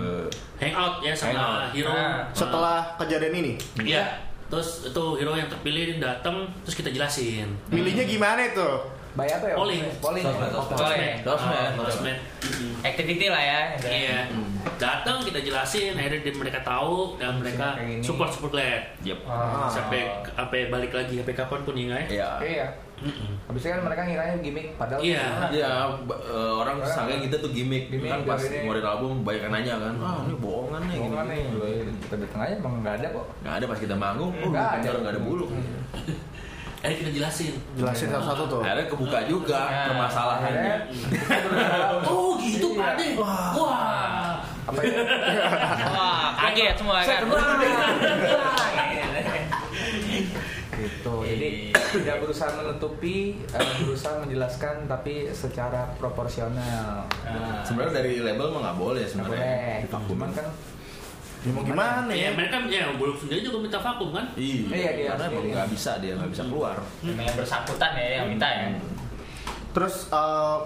G: Eh,
E: hangout ya sama
G: Hangout. Ah.
E: Hero.
D: Nah.
C: Setelah kejadian ini,
E: Iya. Terus itu hero yang terpilih datang terus kita jelasin.
C: milihnya gimana itu?
H: Bayar apa ya?
E: Polling.
H: Polling.
G: Sosmed, sosmed.
H: Polling.
D: Boleh.
G: Sosmed,
E: Ah,
G: sosmed.
E: sosmed. Mm-mm.
D: Activity lah ya. gitu.
E: Iya. Datang kita jelasin, akhirnya dia- mereka tahu dan mereka
H: kayak gini.
E: support support glad.
G: Yep.
D: Ah.
E: Sampai sampai balik lagi sampai kapan pun ya. nggak ya?
G: Iya.
H: Iya. Habis itu kan mereka ngiranya gimmick padahal
E: Iya.
G: Iya, b- eh, orang sangka kita tuh gimmick.
H: ah. Gimmick,
G: kan pas
H: gimmick.
G: ngeluarin album banyak yang nanya kan, ah ini bohongan nih.
H: Bohongan nih. Iya,
G: gini-gini.
H: Kita datang aja emang nggak ada kok.
G: Nggak ada pas kita manggung, oh
H: Nggak
G: bener
H: ada. Hmm. Iya.
G: nggak ada bulu.
E: Akhirnya kita jelasin.
C: Jelasin satu-satu tuh.
G: Akhirnya kebuka juga
D: Nah.
G: permasalahannya.
H: Akhirnya
E: Oh gitu Pak De. Wah.
H: apa ya?
D: Wah, kaget semua kan. Iya.
H: gitu. Jadi tidak berusaha menutupi, eh, berusaha menjelaskan tapi secara proporsional.
G: Sebenarnya dari label mah nggak boleh
H: Nggak
G: sebenarnya.
H: boleh.
G: Vakum.
H: Cuman kan
C: Ya mau gimana ya?
E: Iya, mereka ya belum sendiri juga minta vakum kan?
G: Iya,
H: Iya, dia
G: karena
H: harus
G: emang
H: diri.
G: nggak bisa dia nggak bisa keluar.
D: Memang yang bersangkutan ya yang minta ya.
C: Terus eh,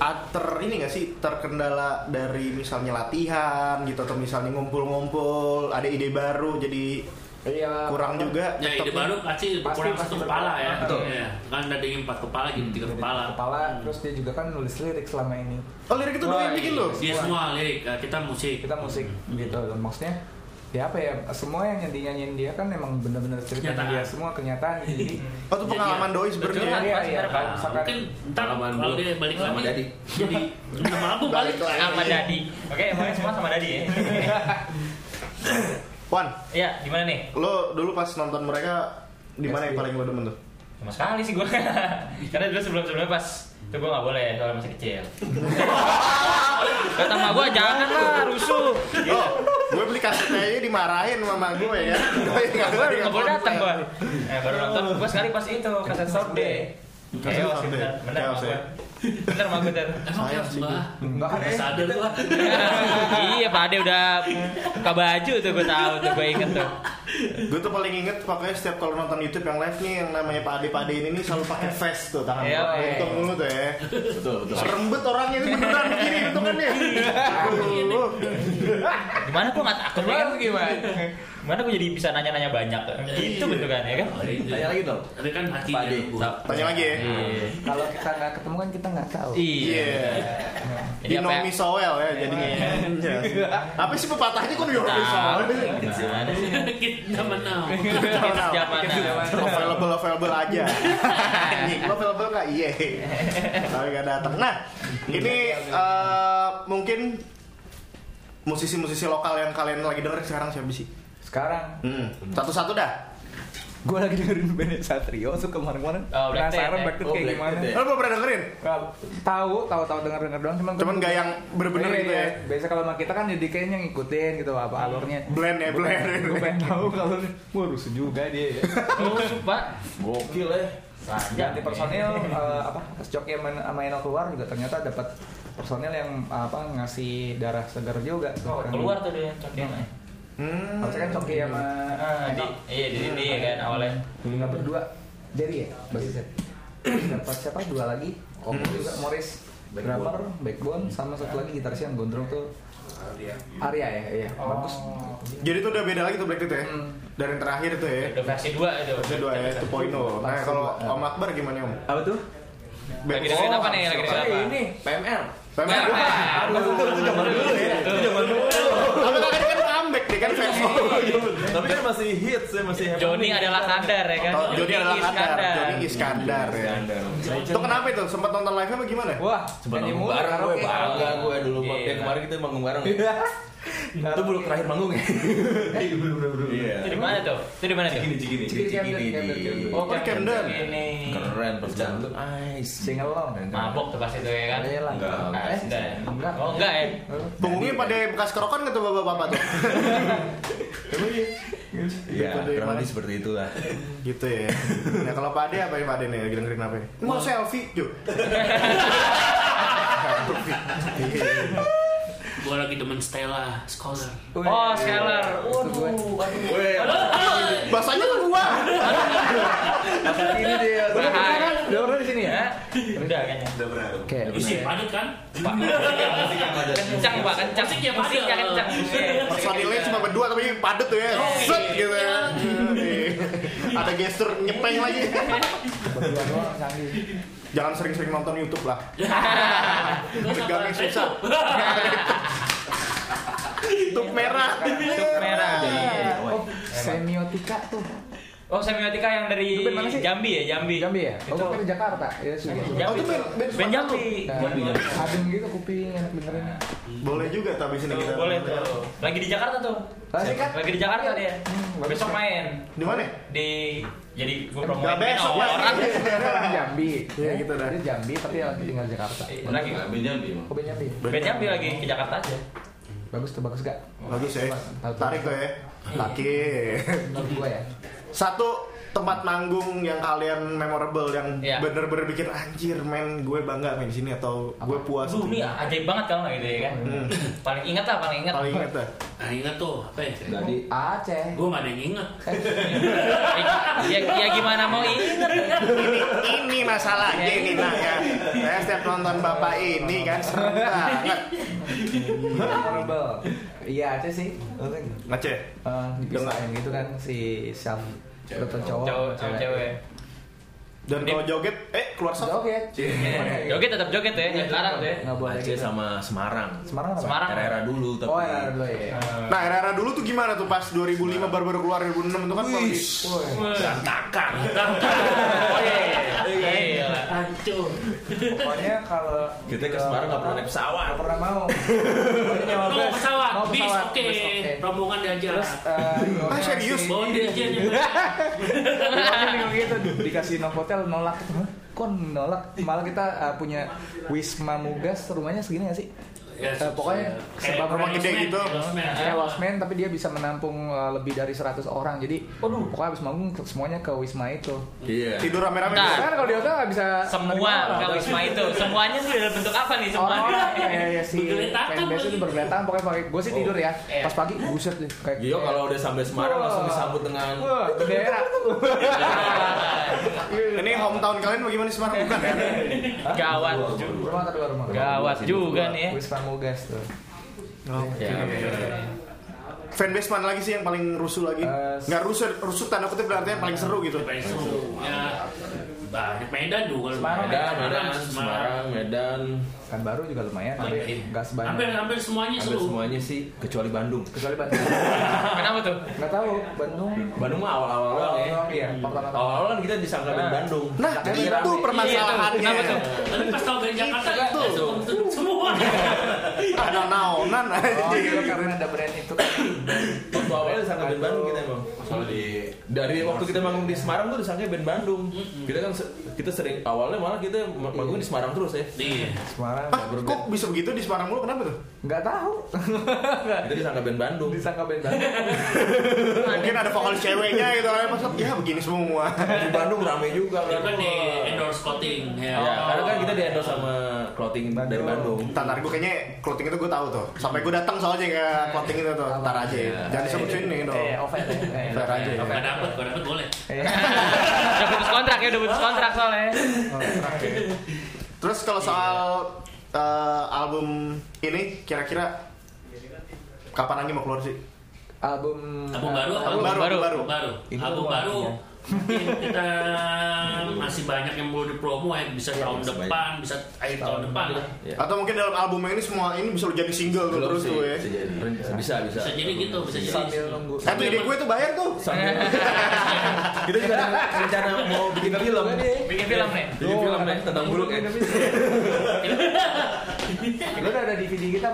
C: ah, ter ini gak sih terkendala dari misalnya latihan gitu atau misalnya ngumpul-ngumpul, ada ide baru jadi
H: iya
C: kurang juga.
E: Ya ide
C: tetepnya.
E: baru pasti
H: Pasti-
E: kurang
H: pasti
E: satu kepala ya.
H: betul.
E: Iya. Kan ada yang empat kepala jadi tiga
H: Jadi
E: kepala. Hmm. Iya,
H: kepala terus dia juga kan nulis lirik selama ini
C: Oh lirik itu doang yang bikin lo?
E: Dia semua lirik eh, kita musik. Hmm.
H: kita musik gitu maksudnya ya apa ya semua yang nyanyi nyanyiin dia kan emang bener-bener ceritanya
E: Kenyataan.
H: dia semua kenyataan jadi
C: Oh itu pengalaman doi
H: iya
C: sebenarnya.
H: iya iya
D: Nah,
H: kalau
E: Nah,
H: misalkan
E: mungkin ntar
G: Pengalaman
E: kalau
G: gua
E: dia balik
G: sama
E: lagi
G: Dadi.
E: jadi nama aku balik
C: Balik lagi.
D: Sama Dadi. Oke, semuanya semua sama Dadi ya.
C: Wan,
D: Iya, gimana nih?
C: lo dulu pas nonton mereka di mana yang paling lo demen tuh?
D: Sama sekali sih gue Karena dulu sebelum-sebelumnya pas Itu gue gak boleh soalnya masih kecil Kata sama gue jangan lah rusuh
C: Oh, gue beli kasetnya aja dimarahin sama gue ya. Gue nggak
D: Gue gak boleh datang gue Eh baru nonton gue sekali pas itu Kaset Sorbet
C: Kaset
D: Chaos,
C: Sorbet.
D: bener Bener sama
C: Chaos,
D: gue
C: ya.
D: Bener sama gue Ter.
E: Emang
C: Sayang
E: kenapa,
C: sih,
E: Mbak?
H: enggak
E: Nggak sadar gua.
D: Iya Pak Ade udah buka baju tuh gue tahu tuh gue inget tuh
C: Gue tuh paling inget pokoknya setiap kalau nonton YouTube yang live nih yang namanya Pak Ade Pak Ade ini nih selalu pakai vest tuh tangan
D: Iya,
C: gua.
D: iya.
C: Untung mulu tuh ya.
G: Betul betul.
C: Serem bet orangnya itu beneran begini itu kan ya.
D: Iya.
C: Aduh.
D: Gimana gue gak takut ya kan gimana Gimana gue jadi bisa nanya-nanya banyak tuh? Gitu bentukannya kan
G: Tanya lagi dong.
E: Tapi kan hatinya
G: Padi.
E: gua.
G: Hmm.
C: Tanya lagi ya.
D: Iya.
H: kalau kita nggak ketemu kan kita nggak tahu
D: Iya
C: Iya.
D: Jadi apa
C: Binomi
D: ya?
C: Soel ya jadinya. Iya. Apa sih pepatahnya kok Binomi Soel?
D: Gimana sih?
E: Kita menang.
D: Kids zaman now.
C: available available aja anjing lo available nggak iya tapi nggak datang nah ini eh, mungkin musisi-musisi lokal yang kalian lagi denger sekarang siapa sih
H: Sekarang
C: hmm. satu-satu dah
H: gue lagi dengerin bandnya Satrio tuh kemarin-kemarin
D: Oh, Black
H: penasaran
D: Ted, ya?
H: Blackpink
G: Oh,
H: kayak
G: Black
H: gimana.
G: Ted, ya?
C: lo belum pernah dengerin
H: Nggak, Tahu, tahu-tahu denger-denger doang cuman gua-
C: cuman nggak yang bener-bener
H: Iya,
C: gitu
H: iya.
C: ya
H: Biasa kalau sama kita kan jadi kayaknya ngikutin gitu apa alurnya.
C: Blend ya, blend.
H: Gue pengen tahu kalau gue rusuh juga dia. ya.
D: Oh, Pak.
G: Gokil ya.
D: Saja.
H: Ganti personil eh, apa sejak yang main sama Enel keluar juga ternyata dapat personil yang apa ngasih darah segar juga. kan.
D: Oh, keluar tuh dia coknya.
C: hmm.
H: Harusnya kan Coki sama
D: Ah,
H: Enel.
D: di- Iya, di sini ya kan awalnya.
H: Tinggal berdua. Jerry ya, basisnya. Dapat siapa dua lagi? Oh, juga Morris. Drummer, backbone, sama satu lagi gitaris yang gondrong tuh Arya ya, iya. Bagus.
C: jadi tuh udah beda lagi tuh Black Tooth ya dari yang terakhir tuh ya
D: Udah versi 2 itu.
C: itu dua ya, itu point Nah kalau Om Akbar gimana Om?
G: Apa tuh?
D: Lagi dengerin apa nih? Lagi dengerin
H: Eh,
D: apa?
G: ini PMR.
C: Sama
D: Nah,
G: Aduh, itu zaman dulu ya. Itu zaman dulu.
C: Apa kan kan comeback dia kan
D: Iya.
C: versi
G: Tapi kan masih hits ya, masih
D: Joni adalah kandar ya kan?
C: Atau Joni Oh, adalah Iskandar.
D: Iya.
C: Joni Iskandar ya.
G: Iskandar.
C: Itu kenapa itu? Sempat nonton live-nya apa gimana?
H: Wah,
G: Sempat
H: nyanyi
G: manggung
H: mulu,
G: bareng gue,
H: karaoke.
G: bangga gue dulu. Pak.
D: Iya.
G: Ya, kemarin kita manggung bareng.
H: Iya.
G: ya. Itu belum terakhir manggung ya. Iya.
D: Itu di mana tuh? Itu di mana tuh?
G: Cigini, cigini,
H: Cigini,
G: cigini,
H: Cigini,
G: di-
H: Cigini.
C: Oh, di Camden.
D: Ini.
G: Keren pas jam tuh. Ice.
H: Sing along.
D: Mabok tuh pas itu ya kan?
H: Iya lah.
G: Enggak.
D: Ah,
H: Eh,
D: sudah ya?
H: enggak.
D: Oh enggak ya?
C: Punggungnya pada bekas kerokan gitu bapak-bapak tuh.
G: Iya,
C: Itu di
G: kurang
C: mana?
G: lebih seperti itulah.
C: gitu ya. Nah kalau Pak Ade apa ya Pak Ade nih? Lagi dengerin apa? ya? Mau selfie yuk.
E: Gua lagi demen Stella Scholar.
D: Oh, Skylar.
H: Iya.
D: Waduh,
G: Weh,
C: Bahasanya tuh gua.
H: Ini dia.
D: Bahaya.
H: Udah pernah kan? Udah pernah di sini ya?
D: Udah kayaknya.
H: Oke.
E: Isi padat kan?
D: Pak. Kencang, Pak, kencang.
G: ya,
E: Musiknya padat.
D: Musiknya kencang. Iya.
C: Personilnya cuma berdua tapi padet tuh ya. Set gitu ya. Ada gestur nyepeng lagi.
H: Berdua doang canggih.
C: Jangan sering-sering nonton YouTube lah. Pegangnya susah. Tutup merah.
D: Tutup merah.
H: Oh, semiotika tuh.
D: Oh, semiotika yang dari
H: Itu band mana sih?
D: Jambi ya, Jambi.
H: Jambi ya? Oh, gua dari Jakarta.
G: Iya,
H: Ya sudah.
C: Oh, itu band- band
D: band
C: Sumatera
D: Jambi.
H: Nah, adem gitu kuping enak dengerinnya.
C: Boleh juga tapi sini
D: Tuh,
C: kita.
D: Boleh tuh. Lagi di Jakarta tuh.
H: Asik kan?
D: Lagi di Jakarta dia.
H: Hmm, bagus
D: Besok
H: kan?
D: main
C: Di mana?
D: di jadi gue
C: Gak
D: promoin main
C: besok ya.
D: orang.
H: Jambi.
C: Iya, gitu dah.
H: Dia Jambi tapi lagi tinggal di Jakarta.
D: Iya, Lagi
G: Ambilnya di
H: Oh, Ben Jambi.
D: band Jambi lagi ke Jakarta aja.
H: Bagus tuh, bagus gak?
C: Bagus ya. Tarik tuh ya. Laki.
H: Menurut gua ya.
C: Satu tempat manggung yang kalian memorable yang
D: Iya.
C: bener-bener bikin anjir men gue bangga main di sini atau gue puas.
D: Aduh nih ajaib banget kalau nggak gitu ya kan.
C: Hmm.
D: Paling ingat lah paling ingat.
C: Paling inget dah.
E: Nah, ingat tuh apa ya?
G: Jadi
H: Aceh.
E: Gua gak ada yang inget.
D: Eh, ya, ya gimana mau ingat?
C: Ini masalahnya
D: Iya,
C: ini nah ya. Saya setiap nonton bapak ini kan serem banget.
H: Memorable. Iya Aceh sih. Maksudnya,
C: Ngece.
H: eh, dipisahin gitu kan si Syam dokter cowok.
D: Cowok sama cewek.
C: Dan kalau joget, eh keluar
H: Udah
C: soft.
H: Oke.
D: Joget tetap joget ya, nggak dilarang tuh ya.
H: Nggak boleh
G: Aceh
H: gitu.
G: sama Semarang.
H: Semarang apa?
D: Semarang.
G: Era-era dulu tapi.
H: Oh ya dulu ya.
C: Nah, era-era dulu tuh gimana tuh pas 2005 baru-baru keluar 2006 itu kan kalau di-
H: Woi.
E: Berantakan.
D: Oh, Iya, iya.
E: Oh, Hancur.
H: Pokoknya kalau
G: Kita ke Semarang nggak pernah naik pesawat.
H: Nggak pernah mau.
E: Lu mau pesawat,
H: Mau
E: bis
H: pesawat,
E: oke.
H: bis oke.
E: Rombongan diajar.
H: Terus eh,
C: Ah,
H: dikasih-
C: serius?
E: Bawa dirijennya.
H: Diwakilin kayak gitu dikasih novotel nolak. Hah? Kok nolak? Malah kita eh, punya Wisma Mugas rumahnya segini nggak sih?
E: Ya,
H: Eh, pokoknya
E: kayak
H: sebab
C: rumah gede
E: Rosman,
C: gitu.
E: Rosman.
H: Saya Watchmen tapi dia bisa menampung uh, lebih dari 100 orang. Jadi pokoknya habis manggung ke- semuanya ke Wisma itu.
G: Iya.
C: tidur rame-rame.
D: Bentar.
H: Kan kalau di hotel nggak bisa
D: Ah. Semua kalau Wisma itu, semuanya tuh dalam bentuk apa nih semua? kan
H: orang ya, ya si
E: Bergeletakan
H: fanbase itu
E: lagi.
H: bergeletakan pokoknya pakai gue sih tidur ya
D: Iya.
H: pas pagi buset deh kayak
G: Gio Iya, kalau udah sampai Semarang langsung disambut dengan
H: wah bendera
C: Ini hometown kalian bagaimana sih Semarang bukan ya?
D: Gawat,
H: rumah kedua rumah kedua.
D: gawat juga nih ya.
H: Wisma Mugas tuh
C: Oke.
D: Iya.
G: Ya,
E: Iya,
C: Fanbase mana lagi sih yang paling rusuh lagi?
H: Eh,
C: Nggak rusuh, rusuh tanda kutip berarti yang paling seru gitu.
E: Paling seru. Ya, banyak Medan juga kalau
H: Semarang,
E: Medan,
G: Medan, Medan,
E: Semarang, Semarang.
G: Semarang, Medan,
H: kan baru juga lumayan
E: Lumayan.
H: tapi nggak sebanyak
E: Hampir hampir semuanya
G: hampir
E: seru.
G: semuanya sih kecuali Bandung.
H: kecuali Bandung
D: Kenapa tuh?
H: nggak tahu Bandung
G: Bandung mah awal-awal doang ya.
H: awal-awal ya pertama-tama
G: Awal-awal kan kita disangka band Bandung.
C: Nah, itu
E: Iya,
C: permasalahannya.
D: Kenapa tuh?
E: Tapi pas tau dari Jakarta
C: Itu.
E: langsung tutup semua.
C: Ada naonan
H: Oh,
C: anjing.
H: itu karena ada brand itu kan.
G: Waktu awalnya disangka band Bandung kita emang. Di dari waktu kita manggung di Semarang tuh disangka band Bandung. Kita kan se- kita sering awalnya malah kita ma- manggung di Semarang terus ya.
E: Iya.
H: Semarang
C: Ah,
H: nggak berbeda.
C: kok bisa begitu di Semarang mulu kenapa tuh?
H: Nggak tahu.
G: Kita disangka band Bandung.
H: Disangka band Bandung.
C: Mungkin ada vokalis ceweknya gitu kan maksud ya begini semua.
G: Di Bandung rame juga
E: Itu kan di
G: Wah.
E: endorse coating ya.
G: Ya, karena kan kita di endorse sama clothing dari Bandung.
C: Ntar, ntar gue kayaknya clothing itu gue tahu tuh. Sampai gue datang soalnya ke clothing itu tuh. Ntar aja. ya. Jangan disebut sini dong.
H: Eh, oven. Eh,
C: Fair aja. ya.
E: Gak Iya, dapet, gak dapet boleh.
H: Eh,
D: Udah putus kontrak ya, udah putus kontrak soalnya.
C: Terus kalau soal eh, album ini kira-kira kapan lagi mau keluar sih?
H: Album
E: Album baru,
H: eh,
E: album
C: Baru,
D: baru.
C: baru.
E: Album baru.
H: Ini
E: Album
H: luar,
E: baru.
H: ya.
E: Mungkin kita masih banyak yang perlu dipromo ya bisa tahun
G: masih
E: depan, bisa akhir tahun depan lah.
G: Ya.
C: Atau mungkin dalam album ini semua ini bisa lu jadi single tuh
G: Belum
C: terus
G: sih,
C: tuh ya.
G: bisa jadi. Bisa, bisa.
E: Bisa jadi gitu, bisa jadi.
H: sambil nunggu.
C: Eh tuh ide gue tuh bayar tuh.
G: Sambil- kita juga ada rencana mau bikin film.
D: Bikin film nih. Iya,
G: Bikin film ya, tentang buruk eh. ya.
H: Lu udah ada DVD kita.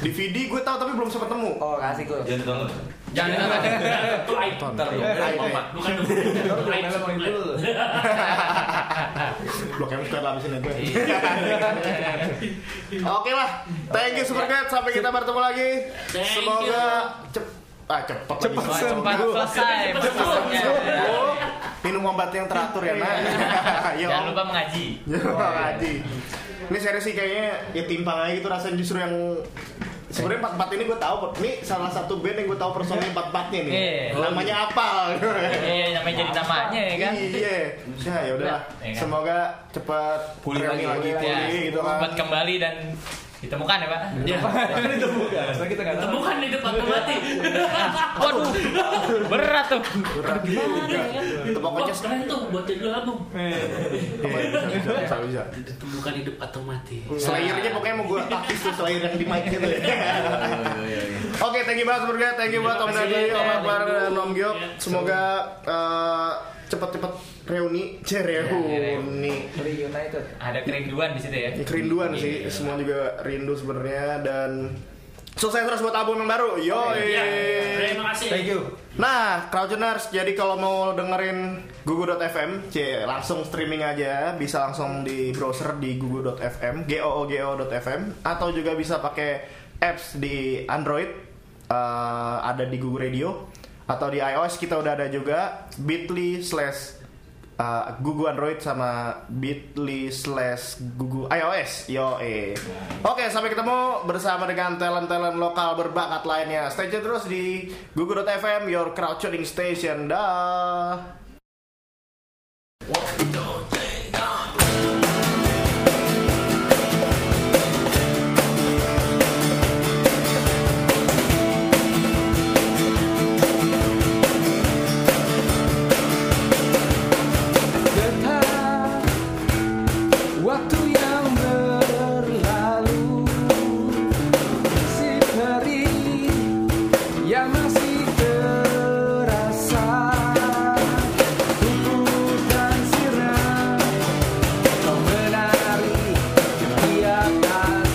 C: DVD gue tahu tapi belum sempat nemu.
H: Oh, kasih gue.
G: Jangan ditonton.
D: Jangan
E: Itu aib.
C: Tonton.
G: Ntar lu.
C: Aib, aib.
G: iya.
E: Bukan
H: Lu
E: itu
H: udah
E: aib
H: melem
E: sebelah.
H: itu.
G: iya.
C: Blok M Square lah abisin ya gue. Oke lah. Thank you Supercat sampai kita bertemu lagi.
E: Thank you.
C: Semoga cep- ah, cepat cepat
D: Cepat selesai. maksudnya.
C: minum obat yang teratur ya nak Yo.
D: Jangan lupa mengaji.
C: Yo, Haji ini serius sih kayaknya ya timpang aja gitu rasanya justru yang sebenarnya empat empat ini gue tahu ini salah satu band yang gue tahu personil empat empatnya nih
D: Iya.
C: namanya apa
D: Iya, namanya jadi namanya ya kan.
C: iya ya ya udahlah
D: Ya, ya kan?
C: semoga cepat
G: Pulih
C: reuni
G: lagi,
C: lagi
G: pulih
D: Ya,
C: pulih gitu kan
D: buat kembali dan ditemukan ya Pak.
E: Ya,
H: Soalnya kita nggak tahu.
E: temukan di depan
G: Iya,
E: mati.
D: Waduh, berat tuh.
C: berat juga
D: kan?
C: tebak
E: Wah,
C: aja
E: keren tuh buat judul album.
C: bisa bisa
D: Iya.
C: bisa
E: Ditemukan hidup atau mati.
C: Slayernya pokoknya mau gue taktis tuh Slayer yang di mic gitu
G: eh.
C: ya Oke, thank you banget Surga, thank Iya, you banget Om
E: Terima kasih,
C: Dadi, Om
E: Teh.
C: Akbar, dan Om Gio.
E: Ya.
C: Semoga eh, cepet-cepet reuni, Cih, reuni.
H: Reunited.
D: Ada kerinduan di situ ya.
C: Ini Kerinduan sih, semua juga rindu sebenarnya dan sukses terus buat album yang baru. Yoi.
E: Ya,
C: iya.
E: terima kasih.
G: Thank you.
C: Nah, Crowdtuners, jadi kalau mau dengerin gugu.fm, c langsung streaming aja, bisa langsung di browser di gugu.fm, googo.fm, atau juga bisa pakai apps di Android, eh, ada di Gugu Radio, atau di iOS kita udah ada juga, bit.ly slash eh, Gugu Android sama bit.ly slash Gugu iOS, yo eh. Oke, sampai ketemu bersama dengan talent-talent lokal berbakat lainnya. Stay tune terus di gugu.fm, your crowd tuning station. Dah.
H: Getar Waktu yang berlalu Si peri Yang masih terasa Tumpukan sirah Kau menari Di atas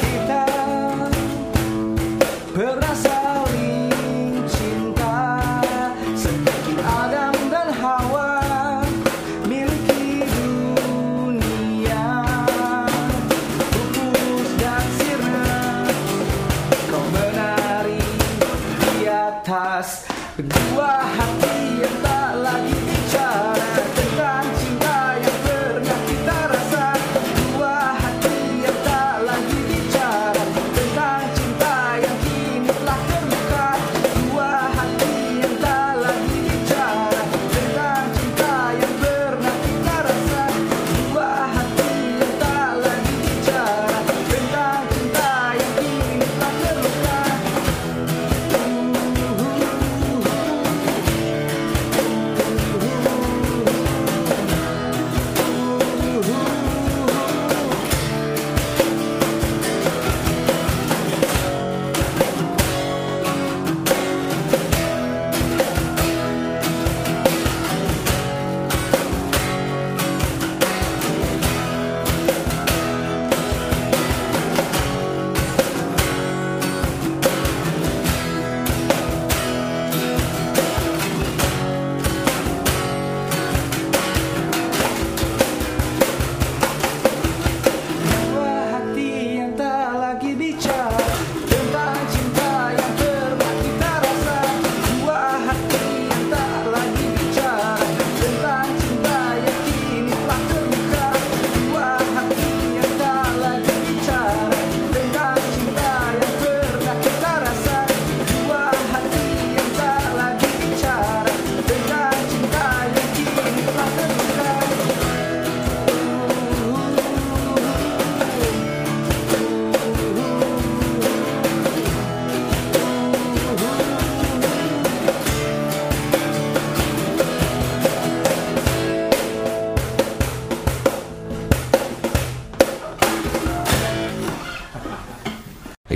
H: kita pernah saling cinta seperti Adam dan Hawa miliki dunia pupus dan sirna kau menari di atas dua hati yang tak lagi bicara tentang cinta yang pernah kita rasa dua hati yang tak lagi bicara tentang cinta yang kini telah terbuka dua hati yang tak lagi bicara tentang cinta yang pernah kita rasa dua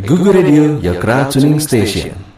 G: Gugu Radio, your crowd tuning station.